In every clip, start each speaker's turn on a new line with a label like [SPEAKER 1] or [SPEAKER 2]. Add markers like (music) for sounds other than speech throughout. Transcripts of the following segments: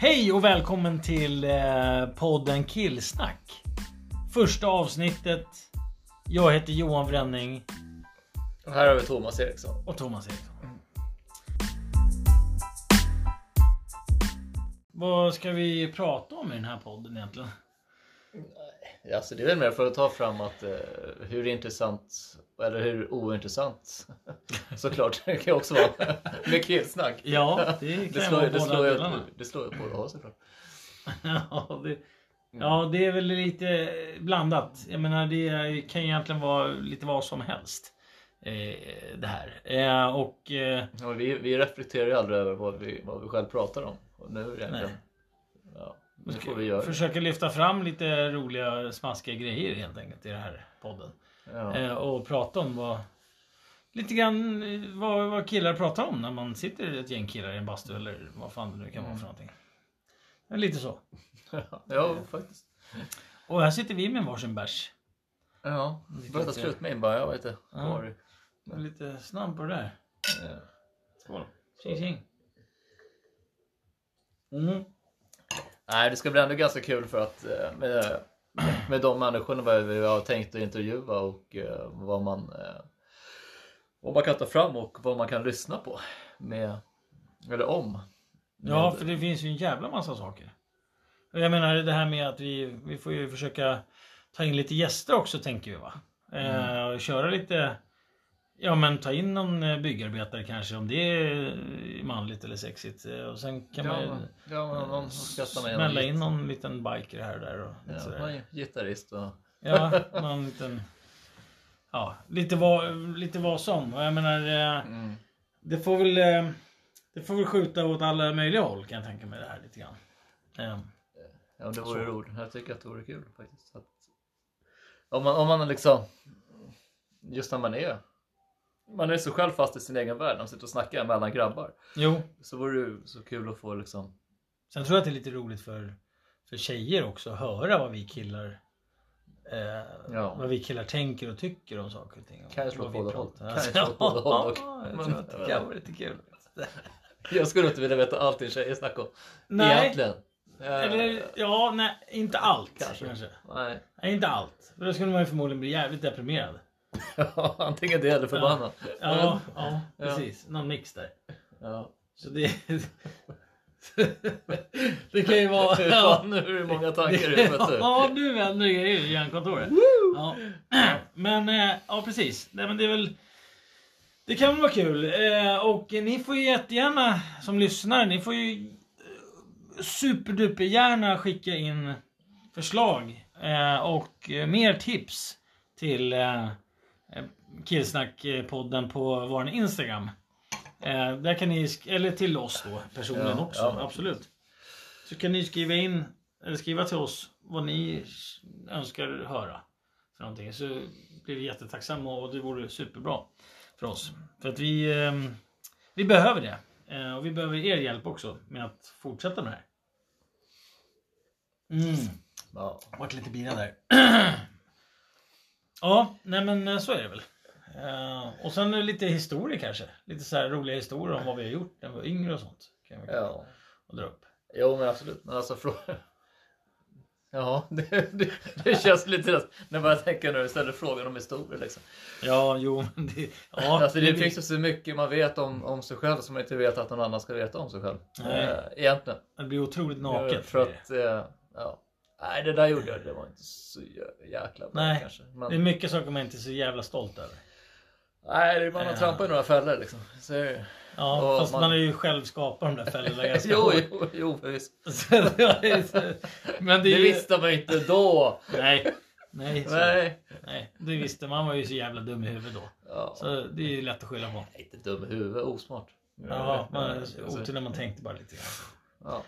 [SPEAKER 1] Hej och välkommen till eh, podden Killsnack. Första avsnittet. Jag heter Johan Bränning
[SPEAKER 2] Och här har vi Thomas Eriksson.
[SPEAKER 1] och Thomas Eriksson. Vad ska vi prata om i den här podden egentligen?
[SPEAKER 2] Alltså det är väl mer för att ta fram att eh, hur intressant eller hur ointressant (laughs) såklart det kan ju också vara med killsnack.
[SPEAKER 1] Ja,
[SPEAKER 2] (laughs)
[SPEAKER 1] det kan
[SPEAKER 2] det
[SPEAKER 1] ju
[SPEAKER 2] slår,
[SPEAKER 1] vara
[SPEAKER 2] det,
[SPEAKER 1] båda
[SPEAKER 2] slår jag,
[SPEAKER 1] delarna.
[SPEAKER 2] det slår jag på att ha såklart.
[SPEAKER 1] (laughs) ja, det,
[SPEAKER 2] Mm.
[SPEAKER 1] ja, det är väl lite blandat. Jag menar, det kan ju egentligen vara lite vad som helst. Eh, det här. Eh, och... Eh,
[SPEAKER 2] Ja, men vi, vi reflekterar ju aldrig över vad vi, vad vi själv pratar om. Och nu är det egentligen... Ja, nu får vi göra det.
[SPEAKER 1] Försöka lyfta fram lite roliga smaskiga grejer helt enkelt i den här podden.
[SPEAKER 2] Ja.
[SPEAKER 1] Eh, och prata om vad... Lite grann eh, vad, vad killar pratar om när man sitter ett gäng killar i en bastu eller vad fan det nu kan
[SPEAKER 2] Mm.
[SPEAKER 1] vara för någonting. Eh, Lite så.
[SPEAKER 2] ja, faktiskt.
[SPEAKER 1] Och här sitter vi med varsin bärs.
[SPEAKER 2] Ja, börjar ta
[SPEAKER 1] lite-
[SPEAKER 2] slut med in bara. Jag vet inte.
[SPEAKER 1] Ja.
[SPEAKER 2] Var det?
[SPEAKER 1] Jag är Lite snabb på det där.
[SPEAKER 2] Ja.
[SPEAKER 1] Skål. Tjing tjing. Mm.
[SPEAKER 2] Nej, det ska bli ändå ganska kul för att eh, med, (clears throat) med de människorna vad vi har tänkt att intervjua och eh, vad man, eh, vad man kan ta fram och vad man kan lyssna på. Med, eller om.
[SPEAKER 1] Ja,
[SPEAKER 2] Med-
[SPEAKER 1] för det finns ju en jävla massa saker. Och Jag menar det här med att vi, vi får ju försöka ta in lite gäster också tänker vi va? Eh, och köra lite, ja men ta in någon eh, byggarbetare kanske om det är eh, manligt eller sexigt. Eh, Och sen kan man ju
[SPEAKER 2] ja, ja, man, man skrattar med
[SPEAKER 1] smälla in någon liten biker här och där. Och lite
[SPEAKER 2] Ja,
[SPEAKER 1] sådär.
[SPEAKER 2] man är gitarrist och...
[SPEAKER 1] Ja, någon liten... Ja, lite vad, lite vad som. Och jag menar, eh,
[SPEAKER 2] Mm.
[SPEAKER 1] det får väl... eh, Det får väl skjuta åt alla möjliga håll kan jag tänka mig det här lite grann. Eh,
[SPEAKER 2] Ja, det vore
[SPEAKER 1] Så.
[SPEAKER 2] roligt. Jag tycker att det vore kul faktiskt. Att, om, man, om man liksom... Just när man är... Man är så själv fast i sin egen värld. Man sitter och snackar mellan grabbar.
[SPEAKER 1] Jo,
[SPEAKER 2] Så vore det ju så kul att få liksom...
[SPEAKER 1] sen tror jag att det är lite roligt för, för tjejer också att höra vad vi killar eh,
[SPEAKER 2] Ja.
[SPEAKER 1] Vad vi killar tänker och tycker om saker och ting. och
[SPEAKER 2] Kanske
[SPEAKER 1] vad
[SPEAKER 2] åt
[SPEAKER 1] vi
[SPEAKER 2] båda
[SPEAKER 1] pratar-
[SPEAKER 2] håll. Kanske åt båda håll dock.
[SPEAKER 1] Ja, jag
[SPEAKER 2] Men-
[SPEAKER 1] tror att det kan vara lite kul.
[SPEAKER 2] Jag skulle inte vilja veta allting tjejer snackar om.
[SPEAKER 1] Nej.
[SPEAKER 2] Egentligen. Eh,
[SPEAKER 1] Eller, ja, nej, inte allt
[SPEAKER 2] Kanske.
[SPEAKER 1] kanske.
[SPEAKER 2] Nej. (laughs)
[SPEAKER 1] Nej, inte allt. För då skulle man ju förmodligen bli jävligt deprimerad.
[SPEAKER 2] Antingen det eller förbannad.
[SPEAKER 1] Ja, ja
[SPEAKER 2] Ja.
[SPEAKER 1] precis. Någon mix där.
[SPEAKER 2] Ja.
[SPEAKER 1] Så det... (laughs) det kan ju
[SPEAKER 2] (laughs)
[SPEAKER 1] vara...
[SPEAKER 2] Ja, nu är det typ? många tankar i huvudet. du.
[SPEAKER 1] Ja, nu vänder det grejer i hjärnkontoret. Ja. (clears throat) Men eh, ja, precis. Nej, men det är väl... Det kan väl vara kul. Eh, Och ni får ju jättegärna som lyssnar, ni får ju eh, superdupergärna skicka in förslag eh, och eh, mer tips till eh, Killsnackpodden på vår Instagram. Eh, Där kan ni, sk- eller till oss då personligen
[SPEAKER 2] Ja,
[SPEAKER 1] också,
[SPEAKER 2] ja.
[SPEAKER 1] absolut. Så kan ni skriva in, eller skriva till oss vad ni önskar höra. För någonting. Så blir vi jättetacksamma och det vore superbra för oss. För att vi, ehm, vi behöver det. Eh, Och vi behöver er hjälp också med att fortsätta med det här. Mm.
[SPEAKER 2] Ja.
[SPEAKER 1] Vart lite bira där. ja, nej men eh, så är det väl. Eh, och sen eh, lite historia kanske. Lite så här roliga historier om vad vi har gjort när vi var yngre och sånt. Kan vi
[SPEAKER 2] ja.
[SPEAKER 1] och dra upp.
[SPEAKER 2] Jo men absolut. Men alltså frågan... (laughs) Ja, det, det, det känns lite lätt när man tänker när du ställer frågan om historia liksom.
[SPEAKER 1] Ja, jo. men Det, ja,
[SPEAKER 2] (laughs) alltså, det,
[SPEAKER 1] blir-
[SPEAKER 2] finns ju så mycket man vet om, om sig själv som man inte vet att någon annan ska veta om sig själv.
[SPEAKER 1] Nej.
[SPEAKER 2] Eh, egentligen.
[SPEAKER 1] det blir otroligt naket.
[SPEAKER 2] För att, eh, ja. Nej, det där gjorde jag. Det var inte så jä- jäkla bra
[SPEAKER 1] Nej,
[SPEAKER 2] kanske.
[SPEAKER 1] Det är
[SPEAKER 2] Men,
[SPEAKER 1] mycket saker man inte är så jävla stolt över.
[SPEAKER 2] nej, det är man har
[SPEAKER 1] Ja.
[SPEAKER 2] trampat i några fällor liksom. Så, är det.
[SPEAKER 1] Eh. Ja,
[SPEAKER 2] Och
[SPEAKER 1] fast man...
[SPEAKER 2] man-
[SPEAKER 1] har ju själv skapat de där fällorna
[SPEAKER 2] (laughs)
[SPEAKER 1] ganska
[SPEAKER 2] jo,
[SPEAKER 1] hårt.
[SPEAKER 2] jo, jo, visst.
[SPEAKER 1] Så det är så- Men det
[SPEAKER 2] Det
[SPEAKER 1] är ju...
[SPEAKER 2] visste man ju inte då.
[SPEAKER 1] Nej. Nej, (laughs) så, nej.
[SPEAKER 2] Nej.
[SPEAKER 1] det visste man. var ju så jävla dum i huvudet då.
[SPEAKER 2] Ja.
[SPEAKER 1] Så det är ju lätt att skylla på.
[SPEAKER 2] Nej, Inte dum i huvudet, osmart.
[SPEAKER 1] Ja, man,
[SPEAKER 2] Så-
[SPEAKER 1] otur när man tänkte bara lite grann.
[SPEAKER 2] ja.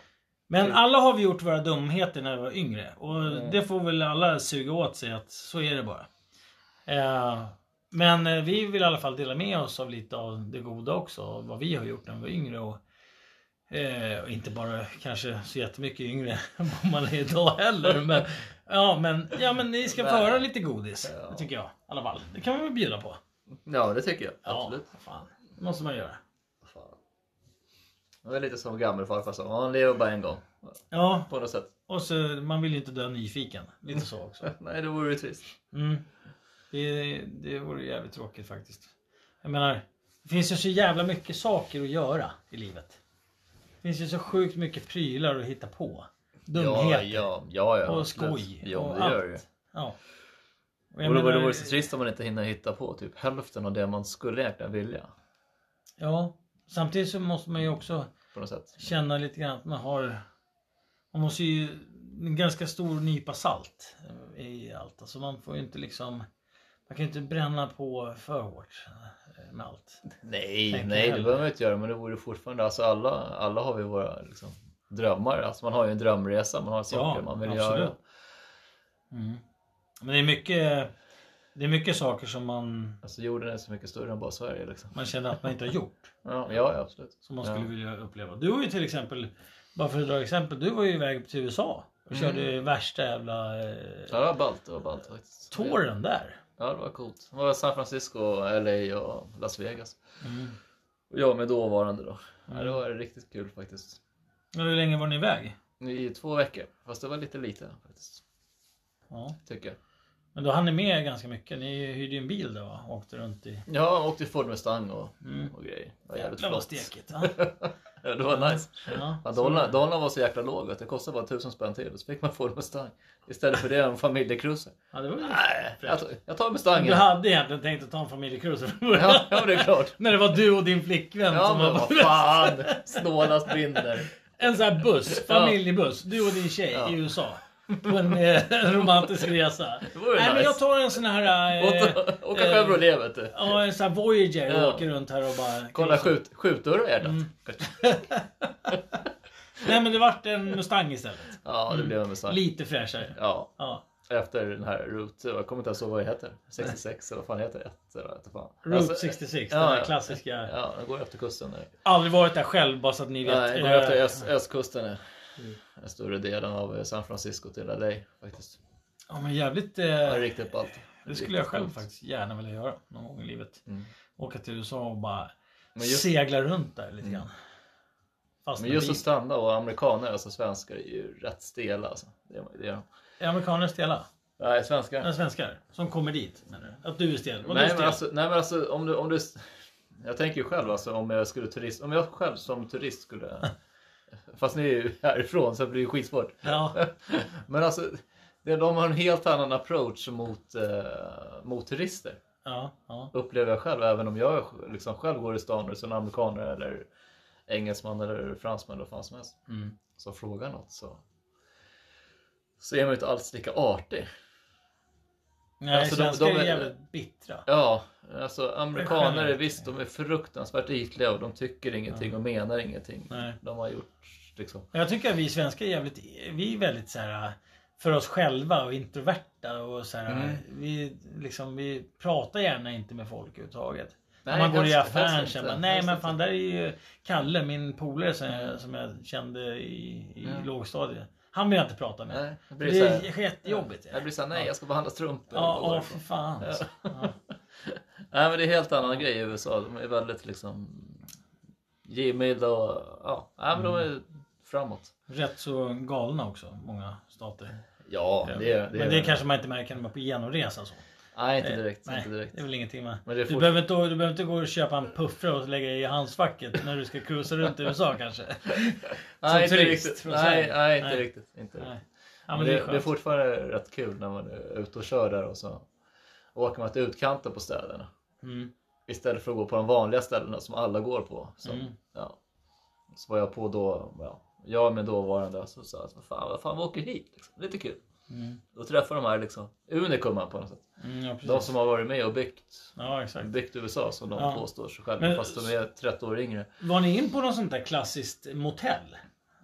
[SPEAKER 1] Men alla har vi gjort våra dumheter när vi var yngre. Och
[SPEAKER 2] Mm.
[SPEAKER 1] det får väl alla suga åt sig att så är det bara. Eh, men eh, vi vill i alla fall dela med oss av lite av det goda också. av Vad vi har gjort när vi var yngre. Och, eh, och inte bara kanske så jättemycket yngre (laughs) än vad man är idag heller. Men, ja, men, ja, men ni ska få
[SPEAKER 2] Nej.
[SPEAKER 1] höra lite godis.
[SPEAKER 2] Ja.
[SPEAKER 1] Det tycker jag. I alla fall. Det kan man väl bjuda på.
[SPEAKER 2] ja, det tycker jag.
[SPEAKER 1] Ja,
[SPEAKER 2] Absolut.
[SPEAKER 1] Fan. Det måste man göra.
[SPEAKER 2] Fan. Det var lite som gammelfarfar sa. Man lever bara en gång.
[SPEAKER 1] Ja,
[SPEAKER 2] på något sätt. (laughs)
[SPEAKER 1] och så man vill ju inte dö nyfiken. Lite så också.
[SPEAKER 2] Nej, det vore ju trist.
[SPEAKER 1] Mm. Det, det vore jävligt tråkigt faktiskt. Jag menar, det finns ju så jävla mycket saker att göra i livet. Det finns ju så sjukt mycket prylar att hitta på.
[SPEAKER 2] Ja,
[SPEAKER 1] Dumheter.
[SPEAKER 2] ja, ja, ja.
[SPEAKER 1] Och skoj
[SPEAKER 2] Ja,
[SPEAKER 1] och
[SPEAKER 2] det gör det ju.
[SPEAKER 1] allt. Ja. Och jag
[SPEAKER 2] Och då var det
[SPEAKER 1] menar-
[SPEAKER 2] vore så trist om man inte hinner hitta på typ hälften av det man skulle egentligen vilja.
[SPEAKER 1] Ja, samtidigt så måste man ju också
[SPEAKER 2] På något sätt.
[SPEAKER 1] känna lite grann att man har... Man måste ju en ganska stor nypa salt eh, i allt. Alltså man får ju inte liksom... Man kan ju inte bränna på för hårt eh, med allt.
[SPEAKER 2] Nej,
[SPEAKER 1] Tänker
[SPEAKER 2] nej det
[SPEAKER 1] heller.
[SPEAKER 2] behöver man inte göra men det vore fortfarande, alltså alla, alla har vi våra liksom, drömmar. Alltså man har ju en drömresa, man har saker man vill göra.
[SPEAKER 1] Mm. Men det är mycket... Det är mycket saker som man,
[SPEAKER 2] Alltså jorden är så mycket större än bara Sverige liksom.
[SPEAKER 1] man känner att man inte har gjort.
[SPEAKER 2] Ja, ja ja, absolut.
[SPEAKER 1] Som man skulle
[SPEAKER 2] Ja.
[SPEAKER 1] vilja uppleva. Du var ju till exempel, bara för att dra exempel, du var ju iväg till USA. Och
[SPEAKER 2] Mm.
[SPEAKER 1] körde värsta jävla eh,
[SPEAKER 2] Ja, det var ballt, det var ballt faktiskt.
[SPEAKER 1] touren där.
[SPEAKER 2] Ja, det var coolt. Det var San Francisco, LA och Las Vegas.
[SPEAKER 1] Mm.
[SPEAKER 2] Och jag med dåvarande då. Ja, det var riktigt kul faktiskt.
[SPEAKER 1] Men Hur länge var ni iväg?
[SPEAKER 2] I två veckor, fast det var lite lite faktiskt,
[SPEAKER 1] Ja.
[SPEAKER 2] tycker jag.
[SPEAKER 1] Men då hann ni med ganska mycket. Ni hyrde ju en bil där va? Åkte runt i...
[SPEAKER 2] Ja, jag åkte Ford Mustang och,
[SPEAKER 1] Mm.
[SPEAKER 2] och grejer. Det var jävligt
[SPEAKER 1] Jävlar vad
[SPEAKER 2] flott.
[SPEAKER 1] stekigt. Va?
[SPEAKER 2] (laughs) Ja, det var nice.
[SPEAKER 1] Ja.
[SPEAKER 2] Ja, dollarn, dollarn var så jäkla låg att det kostade bara tusen spänn till och så fick man få en Mustang. Istället för det
[SPEAKER 1] (laughs)
[SPEAKER 2] en familjecruiser.
[SPEAKER 1] Ja, det var ju...
[SPEAKER 2] Nej, jag tar, jag
[SPEAKER 1] (laughs)
[SPEAKER 2] tar
[SPEAKER 1] Du
[SPEAKER 2] Mustangen.
[SPEAKER 1] hade egentligen tänkt att ta en familjecruise från början.
[SPEAKER 2] (laughs) Ja, ja, det är klart.
[SPEAKER 1] (laughs) När det var du och din flickvän
[SPEAKER 2] Ja,
[SPEAKER 1] som
[SPEAKER 2] men
[SPEAKER 1] var...
[SPEAKER 2] vad fan. Snålast binder.
[SPEAKER 1] (laughs) En sån här buss, familjebuss. Du och din tjej
[SPEAKER 2] Ja.
[SPEAKER 1] i USA. På en eh, (laughs) romantisk resa.
[SPEAKER 2] Det vore
[SPEAKER 1] Nej men
[SPEAKER 2] nice.
[SPEAKER 1] jag tar en sån här... Eh,
[SPEAKER 2] Åt- Åka Chevrolet vet du.
[SPEAKER 1] (laughs) ja, en sån här Voyager och
[SPEAKER 2] Ja.
[SPEAKER 1] åker runt här och bara...
[SPEAKER 2] Kolla skjut, skjutdörrar i
[SPEAKER 1] Mm.
[SPEAKER 2] hjärtat.
[SPEAKER 1] Nej men det vart en Mustang istället.
[SPEAKER 2] Ja, det blev en Mustang.
[SPEAKER 1] Lite fräschare.
[SPEAKER 2] Ja,
[SPEAKER 1] Ja.
[SPEAKER 2] efter den här Route, jag kommer inte ens ihåg vad det heter. 66 eller vad fan heter det? Ett, eller vad heter fan.
[SPEAKER 1] Route
[SPEAKER 2] Alltså,
[SPEAKER 1] 66,
[SPEAKER 2] ja,
[SPEAKER 1] den här
[SPEAKER 2] ja.
[SPEAKER 1] klassiska.
[SPEAKER 2] Ja, den går efter kusten. Där.
[SPEAKER 1] Aldrig varit där själv bara så att ni vet.
[SPEAKER 2] Nej, den går
[SPEAKER 1] Eh,
[SPEAKER 2] efter öst, östkusten. Är.
[SPEAKER 1] Mm.
[SPEAKER 2] Den större delen av eh, San Francisco till LA faktiskt.
[SPEAKER 1] Ja men jävligt... eh,
[SPEAKER 2] Ja, det är riktigt ballt.
[SPEAKER 1] det skulle jag
[SPEAKER 2] Riktigt
[SPEAKER 1] själv
[SPEAKER 2] coolt.
[SPEAKER 1] faktiskt gärna vilja göra någon gång i livet.
[SPEAKER 2] Mm.
[SPEAKER 1] Åka till USA och bara
[SPEAKER 2] Men just- Mm.
[SPEAKER 1] segla runt där lite grann. Fast
[SPEAKER 2] Men
[SPEAKER 1] med
[SPEAKER 2] just
[SPEAKER 1] bil.
[SPEAKER 2] att stanna och amerikaner, alltså svenskar, är ju rätt stela alltså. Det är, det är de.
[SPEAKER 1] Är amerikaner stela?
[SPEAKER 2] Nej, svenskar.
[SPEAKER 1] Eller svenskar? Som kommer dit? menar du? Att du är stel? Alltså, Vadå
[SPEAKER 2] Nej
[SPEAKER 1] stel?
[SPEAKER 2] men, alltså, nej men alltså om du, om du... Jag tänker ju själv alltså om jag skulle turist... Om jag själv som
[SPEAKER 1] (laughs)
[SPEAKER 2] turist skulle... Fast ni är ju härifrån så det blir ju skitsvårt.
[SPEAKER 1] Ja.
[SPEAKER 2] Men alltså, det- de har en helt annan approach mot, eh, mot turister.
[SPEAKER 1] Ja, ja.
[SPEAKER 2] Upplever jag själv, även om jag liksom själv går i stan och så en amerikaner eller engelsman eller fransman eller vad fan som helst
[SPEAKER 1] Mm.
[SPEAKER 2] som frågar något så, så är man ju inte alls lika artig.
[SPEAKER 1] Nej,
[SPEAKER 2] Alltså, de-
[SPEAKER 1] svenskar
[SPEAKER 2] de
[SPEAKER 1] är
[SPEAKER 2] är-
[SPEAKER 1] jävligt bittra.
[SPEAKER 2] Ja, alltså amerikaner är
[SPEAKER 1] generellt.
[SPEAKER 2] visst, de är fruktansvärt ytliga och de tycker ingenting och menar ingenting.
[SPEAKER 1] Nej.
[SPEAKER 2] De har gjort liksom...
[SPEAKER 1] Men Jag tycker att vi svenskar är jävligt, vi är väldigt så här för oss själva och introverta och så här,
[SPEAKER 2] Mm.
[SPEAKER 1] vi, liksom, vi pratar gärna inte med folk överhuvudtaget. När
[SPEAKER 2] Nej,
[SPEAKER 1] man går i
[SPEAKER 2] helst-
[SPEAKER 1] affären
[SPEAKER 2] helst
[SPEAKER 1] känner
[SPEAKER 2] inte,
[SPEAKER 1] man, nej
[SPEAKER 2] helst
[SPEAKER 1] men
[SPEAKER 2] inte."
[SPEAKER 1] fan där är ju Kalle, min polare som, jag- som jag kände i, i
[SPEAKER 2] Mm.
[SPEAKER 1] lågstadiet. Han vill jag inte prata med.
[SPEAKER 2] Nej, det blir
[SPEAKER 1] Det
[SPEAKER 2] så här-
[SPEAKER 1] är jättejobbigt.
[SPEAKER 2] Jag blir såhär, nej jag ska behandla strumpor.
[SPEAKER 1] Ja,
[SPEAKER 2] och gå
[SPEAKER 1] ja för
[SPEAKER 2] därifrån.
[SPEAKER 1] fan. alltså. Ja.
[SPEAKER 2] Nej men det är helt annan grej i USA. De är väldigt liksom givmilda och ja, nej, men de är framåt.
[SPEAKER 1] Rätt så galna också, många stater.
[SPEAKER 2] Ja, det, är- det,
[SPEAKER 1] men
[SPEAKER 2] är-
[SPEAKER 1] det kanske man inte märker när man är på genomresa. Så.
[SPEAKER 2] Nej, inte direkt.
[SPEAKER 1] Nej,
[SPEAKER 2] Inte direkt.
[SPEAKER 1] det är väl ingenting man...
[SPEAKER 2] Men det är
[SPEAKER 1] du,
[SPEAKER 2] fort-
[SPEAKER 1] behöver inte, du behöver inte gå och köpa en puffra och lägga i handskfacket när du ska cruisa runt i USA kanske.
[SPEAKER 2] (laughs) nej, inte
[SPEAKER 1] turist
[SPEAKER 2] riktigt.
[SPEAKER 1] från
[SPEAKER 2] Nej,
[SPEAKER 1] Sverige.
[SPEAKER 2] nej, inte
[SPEAKER 1] Nej.
[SPEAKER 2] riktigt. Inte riktigt.
[SPEAKER 1] Nej. Ja,
[SPEAKER 2] Men det, det är fortfarande rätt kul när man är ute och kör där och så åker man till utkanten på städerna.
[SPEAKER 1] mm.
[SPEAKER 2] Istället för att gå på de vanliga ställena som alla går på. Så,
[SPEAKER 1] Mm.
[SPEAKER 2] ja. så var jag på då, ja, jag med dåvarande, så sa jag vad fan, vad fan vi åker hit. Liksom. Lite kul.
[SPEAKER 1] Mm.
[SPEAKER 2] Då träffar de här liksom, unikumman på något sätt.
[SPEAKER 1] Mm, ja,
[SPEAKER 2] De
[SPEAKER 1] precis.
[SPEAKER 2] som har varit med och byggt,
[SPEAKER 1] Ja, exakt.
[SPEAKER 2] byggt USA som de
[SPEAKER 1] Ja.
[SPEAKER 2] påstår sig själva
[SPEAKER 1] Men-
[SPEAKER 2] fast de är 30 år yngre.
[SPEAKER 1] Var ni in på något sånt där klassiskt motell?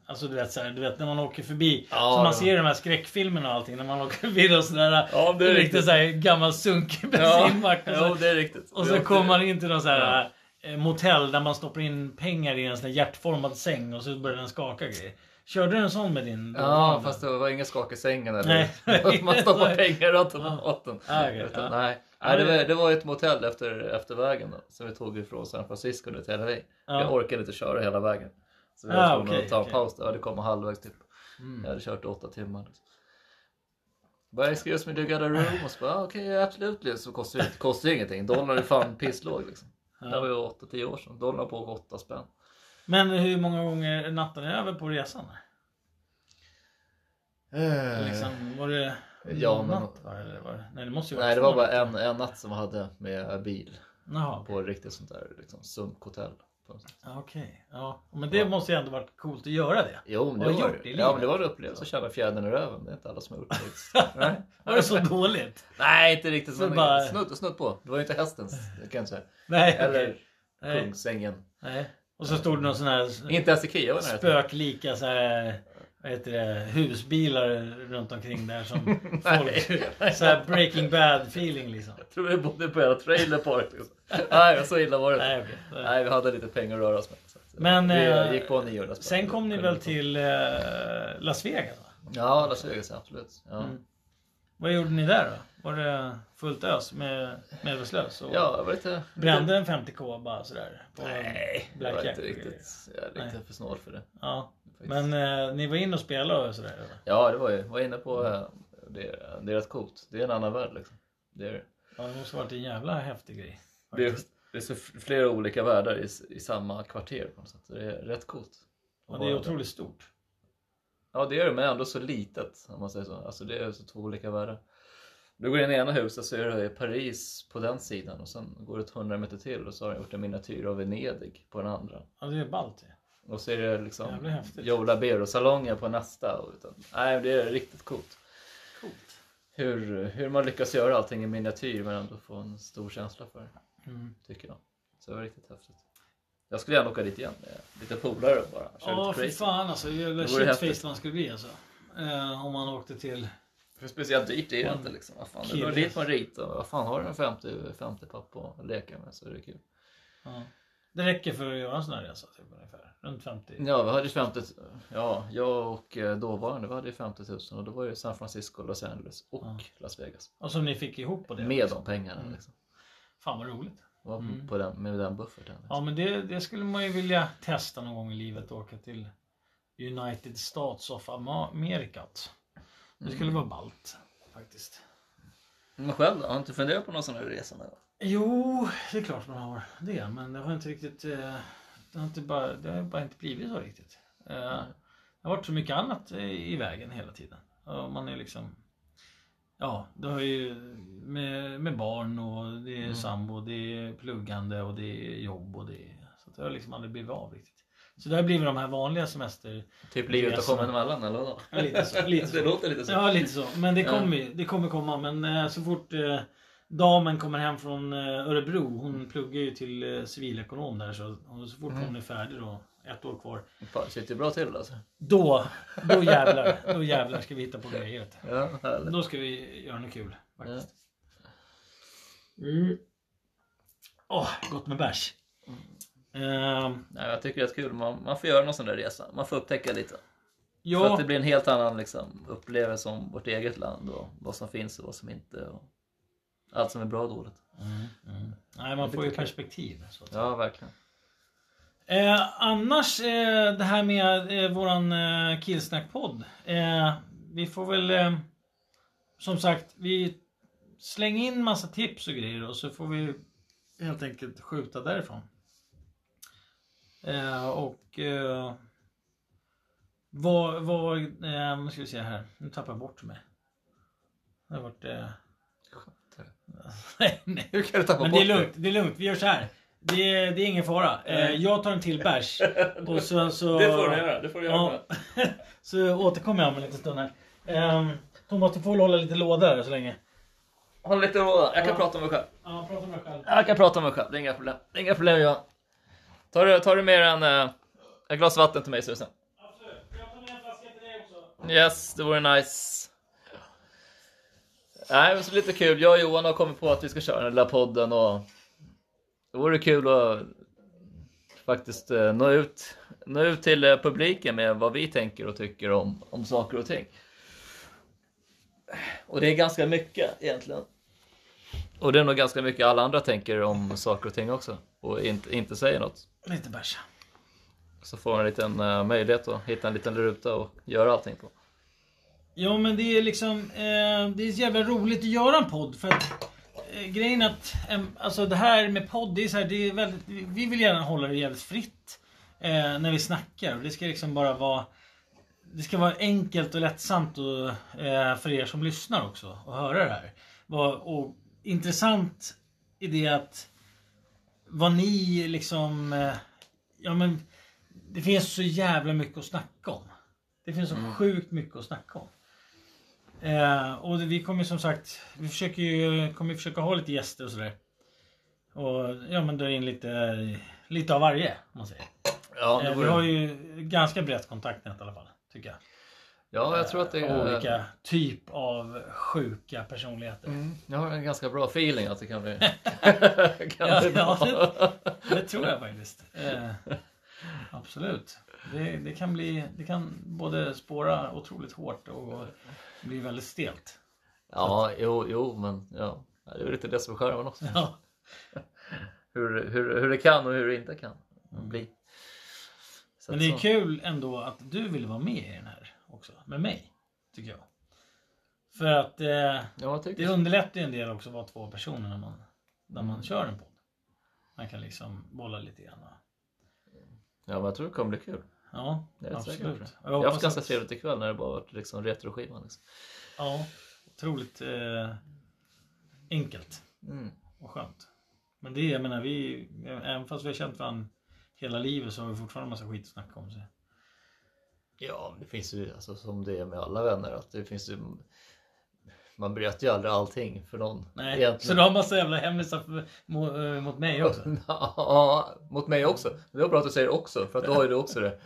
[SPEAKER 1] Alltså du vet, så här, du vet när man åker förbi.
[SPEAKER 2] Ja,
[SPEAKER 1] som
[SPEAKER 2] det var-
[SPEAKER 1] man ser i de här skräckfilmerna och allting. När man åker förbi någon sån där
[SPEAKER 2] Ja, det är
[SPEAKER 1] riktigt
[SPEAKER 2] riktigt.
[SPEAKER 1] så här, gammal sunkig
[SPEAKER 2] Ja,
[SPEAKER 1] bensinmack. och så-
[SPEAKER 2] jo, det är riktigt.
[SPEAKER 1] Och
[SPEAKER 2] Vi
[SPEAKER 1] så
[SPEAKER 2] åkte-
[SPEAKER 1] kommer man in till någon sån här eh, motell där man stoppar in pengar i en sån här hjärtformad säng och så börjar den skaka grejer. Körde du en sån med din?
[SPEAKER 2] Ja, fast det var inga skak i sängen eller
[SPEAKER 1] Nej.
[SPEAKER 2] (laughs) man stoppar pengar i automaten.
[SPEAKER 1] Ah, okej,
[SPEAKER 2] Utan,
[SPEAKER 1] ja.
[SPEAKER 2] Nej,
[SPEAKER 1] Ja,
[SPEAKER 2] nej det,
[SPEAKER 1] det-
[SPEAKER 2] var, det var ett motell efter, efter vägen då, som vi tog ifrån San Francisco nu till LA.
[SPEAKER 1] Ja.
[SPEAKER 2] Jag orkade inte köra hela vägen. Så vi
[SPEAKER 1] Ah,
[SPEAKER 2] var tvungna
[SPEAKER 1] okej,
[SPEAKER 2] att ta en
[SPEAKER 1] okej.
[SPEAKER 2] paus där. Ja, Det kom halvvägs typ.
[SPEAKER 1] Mm.
[SPEAKER 2] Jag hade kört åtta timmar. Liksom. Bara excuse me, do you got a room? Och så bara, ah, okej, absolut. liksom." Så kostar det kostar ju ingenting. Dollarn är fan pisslåg liksom. Det var ju 8-10 år sedan. Dollarn på 8 spänn.
[SPEAKER 1] Men hur många gånger natten är över på resan? Liksom, var det
[SPEAKER 2] Eh, Ja,
[SPEAKER 1] någon
[SPEAKER 2] men-
[SPEAKER 1] natt? Va? Eller var det? Nej, det måste ju
[SPEAKER 2] Nej, det
[SPEAKER 1] två
[SPEAKER 2] var bara
[SPEAKER 1] nätter.
[SPEAKER 2] en, en natt som jag hade med bil
[SPEAKER 1] Jaha,
[SPEAKER 2] på ett riktigt sånt där liksom, sunkhotell. på något sätt.
[SPEAKER 1] ja, okej. Ja. Men det måste ju ändå varit coolt att göra det.
[SPEAKER 2] Jo, men
[SPEAKER 1] Har
[SPEAKER 2] det
[SPEAKER 1] du
[SPEAKER 2] var,
[SPEAKER 1] gjort det i
[SPEAKER 2] ja, men
[SPEAKER 1] livet?
[SPEAKER 2] det var en upplevelse att känna fjädern i röven. Det är inte alla som har gjort
[SPEAKER 1] (laughs)
[SPEAKER 2] det. faktiskt. Nej.
[SPEAKER 1] Var det så Alltså, dåligt?
[SPEAKER 2] Nej, inte riktigt.
[SPEAKER 1] Men
[SPEAKER 2] Men
[SPEAKER 1] bara-
[SPEAKER 2] snudd, snudd på. Det var ju inte hästens, det kan jag säga.
[SPEAKER 1] Nej.
[SPEAKER 2] Eller
[SPEAKER 1] Nej.
[SPEAKER 2] kungsängen.
[SPEAKER 1] Nej. Och så stod det någon sån här
[SPEAKER 2] Inte ens Ikea var i närheten.
[SPEAKER 1] spöklika så här, vad heter det, husbilar runt omkring där (laughs) som folk... så här Breaking Bad feeling liksom.
[SPEAKER 2] Jag tror vi bodde på hela trailer park. Liksom. Nej, så illa var det inte.
[SPEAKER 1] Nej, okej.
[SPEAKER 2] Nej, vi hade lite pengar att röra oss med. Så att, eh,
[SPEAKER 1] Men,
[SPEAKER 2] vi
[SPEAKER 1] eh,
[SPEAKER 2] eh, gick på 900 spänn.
[SPEAKER 1] Sen kom ni väl till eh, Las Vegas? Va?
[SPEAKER 2] Ja, Las Vegas, absolut. Ja,
[SPEAKER 1] Mm. Vad gjorde ni där då? Var det fullt ös med medvetslös? Och
[SPEAKER 2] ja det var lite...
[SPEAKER 1] Brände en 50k bara sådär? På
[SPEAKER 2] Nej, jag var
[SPEAKER 1] Blackjack?
[SPEAKER 2] inte riktigt, jag är
[SPEAKER 1] Nej.
[SPEAKER 2] lite för snål för det.
[SPEAKER 1] Ja.
[SPEAKER 2] faktiskt.
[SPEAKER 1] Men eh, ni var inne och spelade och sådär? Eller?
[SPEAKER 2] Ja, det var ju, var inne på, eh, det, är- det är rätt coolt. Det är en annan värld liksom. Det är,
[SPEAKER 1] Ja, det måste ha varit en jävla häftig grej.
[SPEAKER 2] det är,
[SPEAKER 1] faktiskt.
[SPEAKER 2] det är så flera olika världar i, s- i samma kvarter på något sätt. Så Det är rätt coolt.
[SPEAKER 1] Och det är otroligt stort.
[SPEAKER 2] Ja, det är det, men ändå så litet om man säger så. Alltså det är så två olika världar. Du går in i ena huset så är det Paris på den sidan och sen går det 100 meter till och så har de gjort en miniatyr av Venedig på den andra.
[SPEAKER 1] Ja, det är ballt det.
[SPEAKER 2] Och så är det liksom
[SPEAKER 1] Jävla häftigt.
[SPEAKER 2] Joe Labero-salonger på nästa. och Utan, nej, det är riktigt coolt.
[SPEAKER 1] Coolt.
[SPEAKER 2] Hur, hur man lyckas göra allting i miniatyr men ändå få en stor känsla för det,
[SPEAKER 1] Mm.
[SPEAKER 2] tycker jag. Så det var riktigt häftigt. Jag skulle gärna åka dit igen med lite polare och bara. Köra
[SPEAKER 1] Ja,
[SPEAKER 2] lite
[SPEAKER 1] för
[SPEAKER 2] crazy.
[SPEAKER 1] fan alltså. Jävla
[SPEAKER 2] Det vore häftigt.
[SPEAKER 1] shitface man skulle bli alltså. Eh, om man åkte till...
[SPEAKER 2] För speciellt dyrt är det inte liksom. Vad fan, du går
[SPEAKER 1] Kul.
[SPEAKER 2] dit på en rit och vad fan har du en 50, 50 papp att leka med så är det kul.
[SPEAKER 1] Ja. Det räcker för att göra en sån här resa typ, ungefär. Runt 50.
[SPEAKER 2] Ja, vi hade ju 50, ja, jag och eh, dåvarande vi hade ju 50 000 och då var det San Francisco, Los Angeles och
[SPEAKER 1] Ja.
[SPEAKER 2] Las Vegas.
[SPEAKER 1] Och som ni fick ihop på det.
[SPEAKER 2] Med de pengarna
[SPEAKER 1] Mm.
[SPEAKER 2] liksom.
[SPEAKER 1] Fan vad roligt.
[SPEAKER 2] Var
[SPEAKER 1] Mm.
[SPEAKER 2] på den, med den bufferten.
[SPEAKER 1] Ja men det, det skulle man ju vilja testa någon gång i livet. Åka till United States of America. alltså. Det skulle
[SPEAKER 2] Mm.
[SPEAKER 1] vara ballt faktiskt.
[SPEAKER 2] Men själv då? Har du inte funderat på någon sån här resa någon gång?
[SPEAKER 1] Jo, det är klart man har det. Men det har inte riktigt... eh, Det har, inte bara, det har bara inte blivit så riktigt. Eh, Det har varit så mycket annat i i vägen hela tiden. Och man är liksom... Ja, det har ju med, med barn och det är
[SPEAKER 2] Mm.
[SPEAKER 1] sambo, det är pluggande och det är jobb och det är... Så att det har liksom aldrig blivit av riktigt. Så det har blivit de här vanliga semester...
[SPEAKER 2] Typ livet och
[SPEAKER 1] Resan.
[SPEAKER 2] komma emellan eller vadå?
[SPEAKER 1] Ja, lite så, lite så.
[SPEAKER 2] det låter lite så.
[SPEAKER 1] Ja, lite så. Men det
[SPEAKER 2] Ja.
[SPEAKER 1] kommer, ju- det kommer komma. Men eh, så fort eh, damen kommer hem från eh, Örebro,
[SPEAKER 2] Mm.
[SPEAKER 1] hon pluggar ju till eh, civilekonom där, så, och så fort hon är färdig då, ett år kvar,
[SPEAKER 2] Fan, shit, det är bra till alltså.
[SPEAKER 1] då, då jävlar, då jävlar ska vi hitta på grejer. vet du.
[SPEAKER 2] Ja, härligt.
[SPEAKER 1] Då ska vi göra något kul faktiskt. Mm. Åh, gott med bärs.
[SPEAKER 2] Mm.
[SPEAKER 1] Ehm,
[SPEAKER 2] Nej, jag tycker det är kul. Man, man får göra någon sån där resa. Man får upptäcka lite. För
[SPEAKER 1] ja,
[SPEAKER 2] att det blir en helt annan liksom, upplevelse om vårt eget land och vad som finns och vad som inte. Och allt som är bra och dåligt.
[SPEAKER 1] nej, man får ju perspektiv. Så att
[SPEAKER 2] Ja, verkligen.
[SPEAKER 1] Eh, annars eh, det här med eh, våran eh, Killsnack-podd. Eh, vi får väl eh, som sagt vi släng in massa tips och grejer och så får vi helt enkelt skjuta därifrån. Eh, och eh, vad, vad, eh, vad ska vi se här. Nu tappar jag bort mig. Det har varit... Eh... (laughs) nej, nej.
[SPEAKER 2] Hur kan du tappa
[SPEAKER 1] Men det är lugnt, det är lugnt. Vi gör så här. Det är, det är ingen fara. Eh, jag tar en till bärs.
[SPEAKER 2] (laughs)
[SPEAKER 1] Och sen så...
[SPEAKER 2] Det får du göra. Det får du göra.
[SPEAKER 1] Ja. så återkommer jag om en liten stund här. Ehm, Thomas, du får väl hålla lite låda här så länge.
[SPEAKER 2] Håll lite råd. Jag kan prata om mig själv.
[SPEAKER 1] Ja, prata med dig själv.
[SPEAKER 2] Jag kan prata om mig själv, det är inga problem. Det är inga problem Johan. Tar du, tar du med en, eh, ett glas vatten till mig Susan?
[SPEAKER 1] Absolut. Jag tar med en flaska till dig också.
[SPEAKER 2] Yes, det vore nice. Nej, men så lite kul. Jag och Johan har kommit på att vi ska köra den lilla podden och det vore kul att faktiskt eh, nå ut, nå ut till eh, publiken med vad vi tänker och tycker om, om saker och ting. Och det är ganska mycket egentligen. Och det är nog ganska mycket alla andra tänker om saker och ting också och inte, inte säger något.
[SPEAKER 1] Lite bärs.
[SPEAKER 2] Så får man en liten eh, möjlighet att hitta en liten ruta och göra allting på.
[SPEAKER 1] Ja men det är liksom eh, Det är så jävla roligt att göra en podd för att eh, Grejen att em, Alltså det här med podd det är så här, det är väldigt, Vi vill gärna hålla det jävligt fritt eh, När vi snackar och det ska liksom bara vara Det ska vara enkelt och lättsamt och, eh, för er som lyssnar också att höra det här. Vad- och intressant i det att vad ni liksom eh, Ja men Det finns så jävla mycket att snacka om. Det finns så sjukt mycket att snacka om. Eh, och det- vi kommer som sagt Vi försöker ju kommer försöka ha lite gäster och sådär. Och ja men dra in lite Lite av varje om man säger.
[SPEAKER 2] Ja, det
[SPEAKER 1] Eh, vi
[SPEAKER 2] vore-
[SPEAKER 1] har ju ganska brett kontaktnät i alla fall. Tycker jag.
[SPEAKER 2] ja jag tror att det är...
[SPEAKER 1] Olika typ av sjuka personligheter.
[SPEAKER 2] Mm, jag har en ganska bra feeling att det kan (laughs) bli, kan
[SPEAKER 1] Ja,
[SPEAKER 2] bli bra.
[SPEAKER 1] ja, Det tror jag faktiskt. Eh, absolut. Det, det, kan bli, det kan både spåra otroligt hårt och bli väldigt stelt.
[SPEAKER 2] Ja, jo, jo, men ja. Ja, Det är väl lite det som är charmen också.
[SPEAKER 1] Ja.
[SPEAKER 2] Hur, hur, hur det kan och hur det inte kan bli. Så
[SPEAKER 1] Men
[SPEAKER 2] att
[SPEAKER 1] det
[SPEAKER 2] så.
[SPEAKER 1] är kul ändå att du vill vara med i den här också. Med mig. Tycker jag. För att eh,
[SPEAKER 2] Ja, jag
[SPEAKER 1] det
[SPEAKER 2] tycker så.
[SPEAKER 1] underlättar ju en del också att vara två personer när man, när
[SPEAKER 2] Mm.
[SPEAKER 1] man kör en podd. Man kan liksom bolla lite grann. och-
[SPEAKER 2] Ja, men jag tror det kommer bli kul.
[SPEAKER 1] Ja,
[SPEAKER 2] Det är säkert
[SPEAKER 1] absolut.
[SPEAKER 2] bra.
[SPEAKER 1] Jag
[SPEAKER 2] Jag har
[SPEAKER 1] hoppas
[SPEAKER 2] haft ganska
[SPEAKER 1] att-
[SPEAKER 2] trevligt ikväll när det bara varit liksom retroskivan. Liksom.
[SPEAKER 1] Ja, otroligt eh, enkelt
[SPEAKER 2] Mm.
[SPEAKER 1] och skönt. Men det, jag menar, vi, även fast vi har känt varandra hela livet så har vi fortfarande massa skit att snacka om. Så.
[SPEAKER 2] Ja, men det finns ju alltså, som det är med alla vänner. Att det finns ju, man berättar ju aldrig allting för någon.
[SPEAKER 1] Nej,
[SPEAKER 2] egentligen.
[SPEAKER 1] så du har massa jävla hemlisar för, mo, eh, mot mig också?
[SPEAKER 2] (laughs) Ja, mot mig också. Det var bra att du säger också, för att då har ju du också det.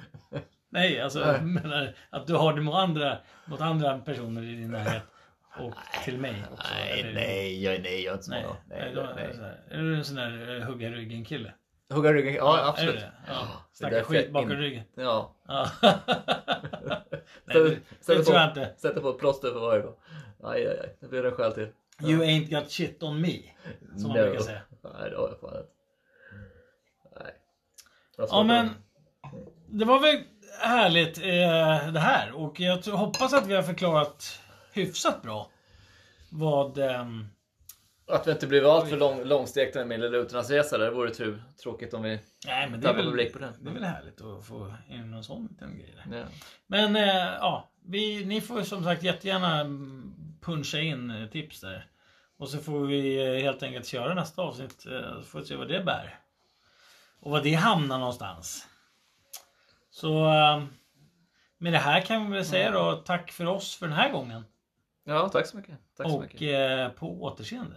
[SPEAKER 1] Nej, alltså (laughs) jag menar att du har det mot andra, mot andra personer i din närhet och till mig också?
[SPEAKER 2] (laughs) Nej,
[SPEAKER 1] eller?
[SPEAKER 2] nej, jag, nej, jag är inte så
[SPEAKER 1] Nej,
[SPEAKER 2] bra.
[SPEAKER 1] nej,
[SPEAKER 2] Nej,
[SPEAKER 1] då,
[SPEAKER 2] nej,
[SPEAKER 1] är det så här. Är du en sån där eh, hugga ryggen kille?
[SPEAKER 2] Hugga ryggen, ja
[SPEAKER 1] Är du
[SPEAKER 2] absolut.
[SPEAKER 1] det? Ja,
[SPEAKER 2] Det är
[SPEAKER 1] snacka
[SPEAKER 2] därför
[SPEAKER 1] skit
[SPEAKER 2] jag
[SPEAKER 1] bakom
[SPEAKER 2] in-
[SPEAKER 1] ryggen?
[SPEAKER 2] Ja.
[SPEAKER 1] Ja.
[SPEAKER 2] (laughs)
[SPEAKER 1] Nej, det, det
[SPEAKER 2] Sätter
[SPEAKER 1] tror jag
[SPEAKER 2] på,
[SPEAKER 1] inte.
[SPEAKER 2] sätter på ett plåster för varje gång. Aj, aj, aj. Det blir en skäl till.
[SPEAKER 1] You ain't got shit on me. Som man
[SPEAKER 2] No.
[SPEAKER 1] brukar säga.
[SPEAKER 2] Nej, det har jag fan inte. Nej. Jag
[SPEAKER 1] Ja
[SPEAKER 2] svarar
[SPEAKER 1] men.
[SPEAKER 2] på det.
[SPEAKER 1] Det var väl härligt eh, det här. Och jag tror, hoppas att vi har förklarat hyfsat bra. Vad... ehm,
[SPEAKER 2] Att vi inte blev allt för lång, långstekta med Lilla Lutornas resa, det vore tur, tråkigt om vi...
[SPEAKER 1] nej men det är,
[SPEAKER 2] Tappar
[SPEAKER 1] väl,
[SPEAKER 2] publik på den.
[SPEAKER 1] det är väl härligt att få in någon sån liten grej. där.
[SPEAKER 2] Ja.
[SPEAKER 1] Men eh, ja, vi, ni får som sagt jättegärna mm, puncha in eh, tips där. Och så får vi eh, helt enkelt köra nästa avsnitt. eh, Så får vi se vad det bär. Och vad det hamnar någonstans. Så eh, med det här kan vi väl säga då tack för oss för den här gången.
[SPEAKER 2] ja, tack så mycket. Tack så
[SPEAKER 1] Och
[SPEAKER 2] mycket.
[SPEAKER 1] eh, på återseende.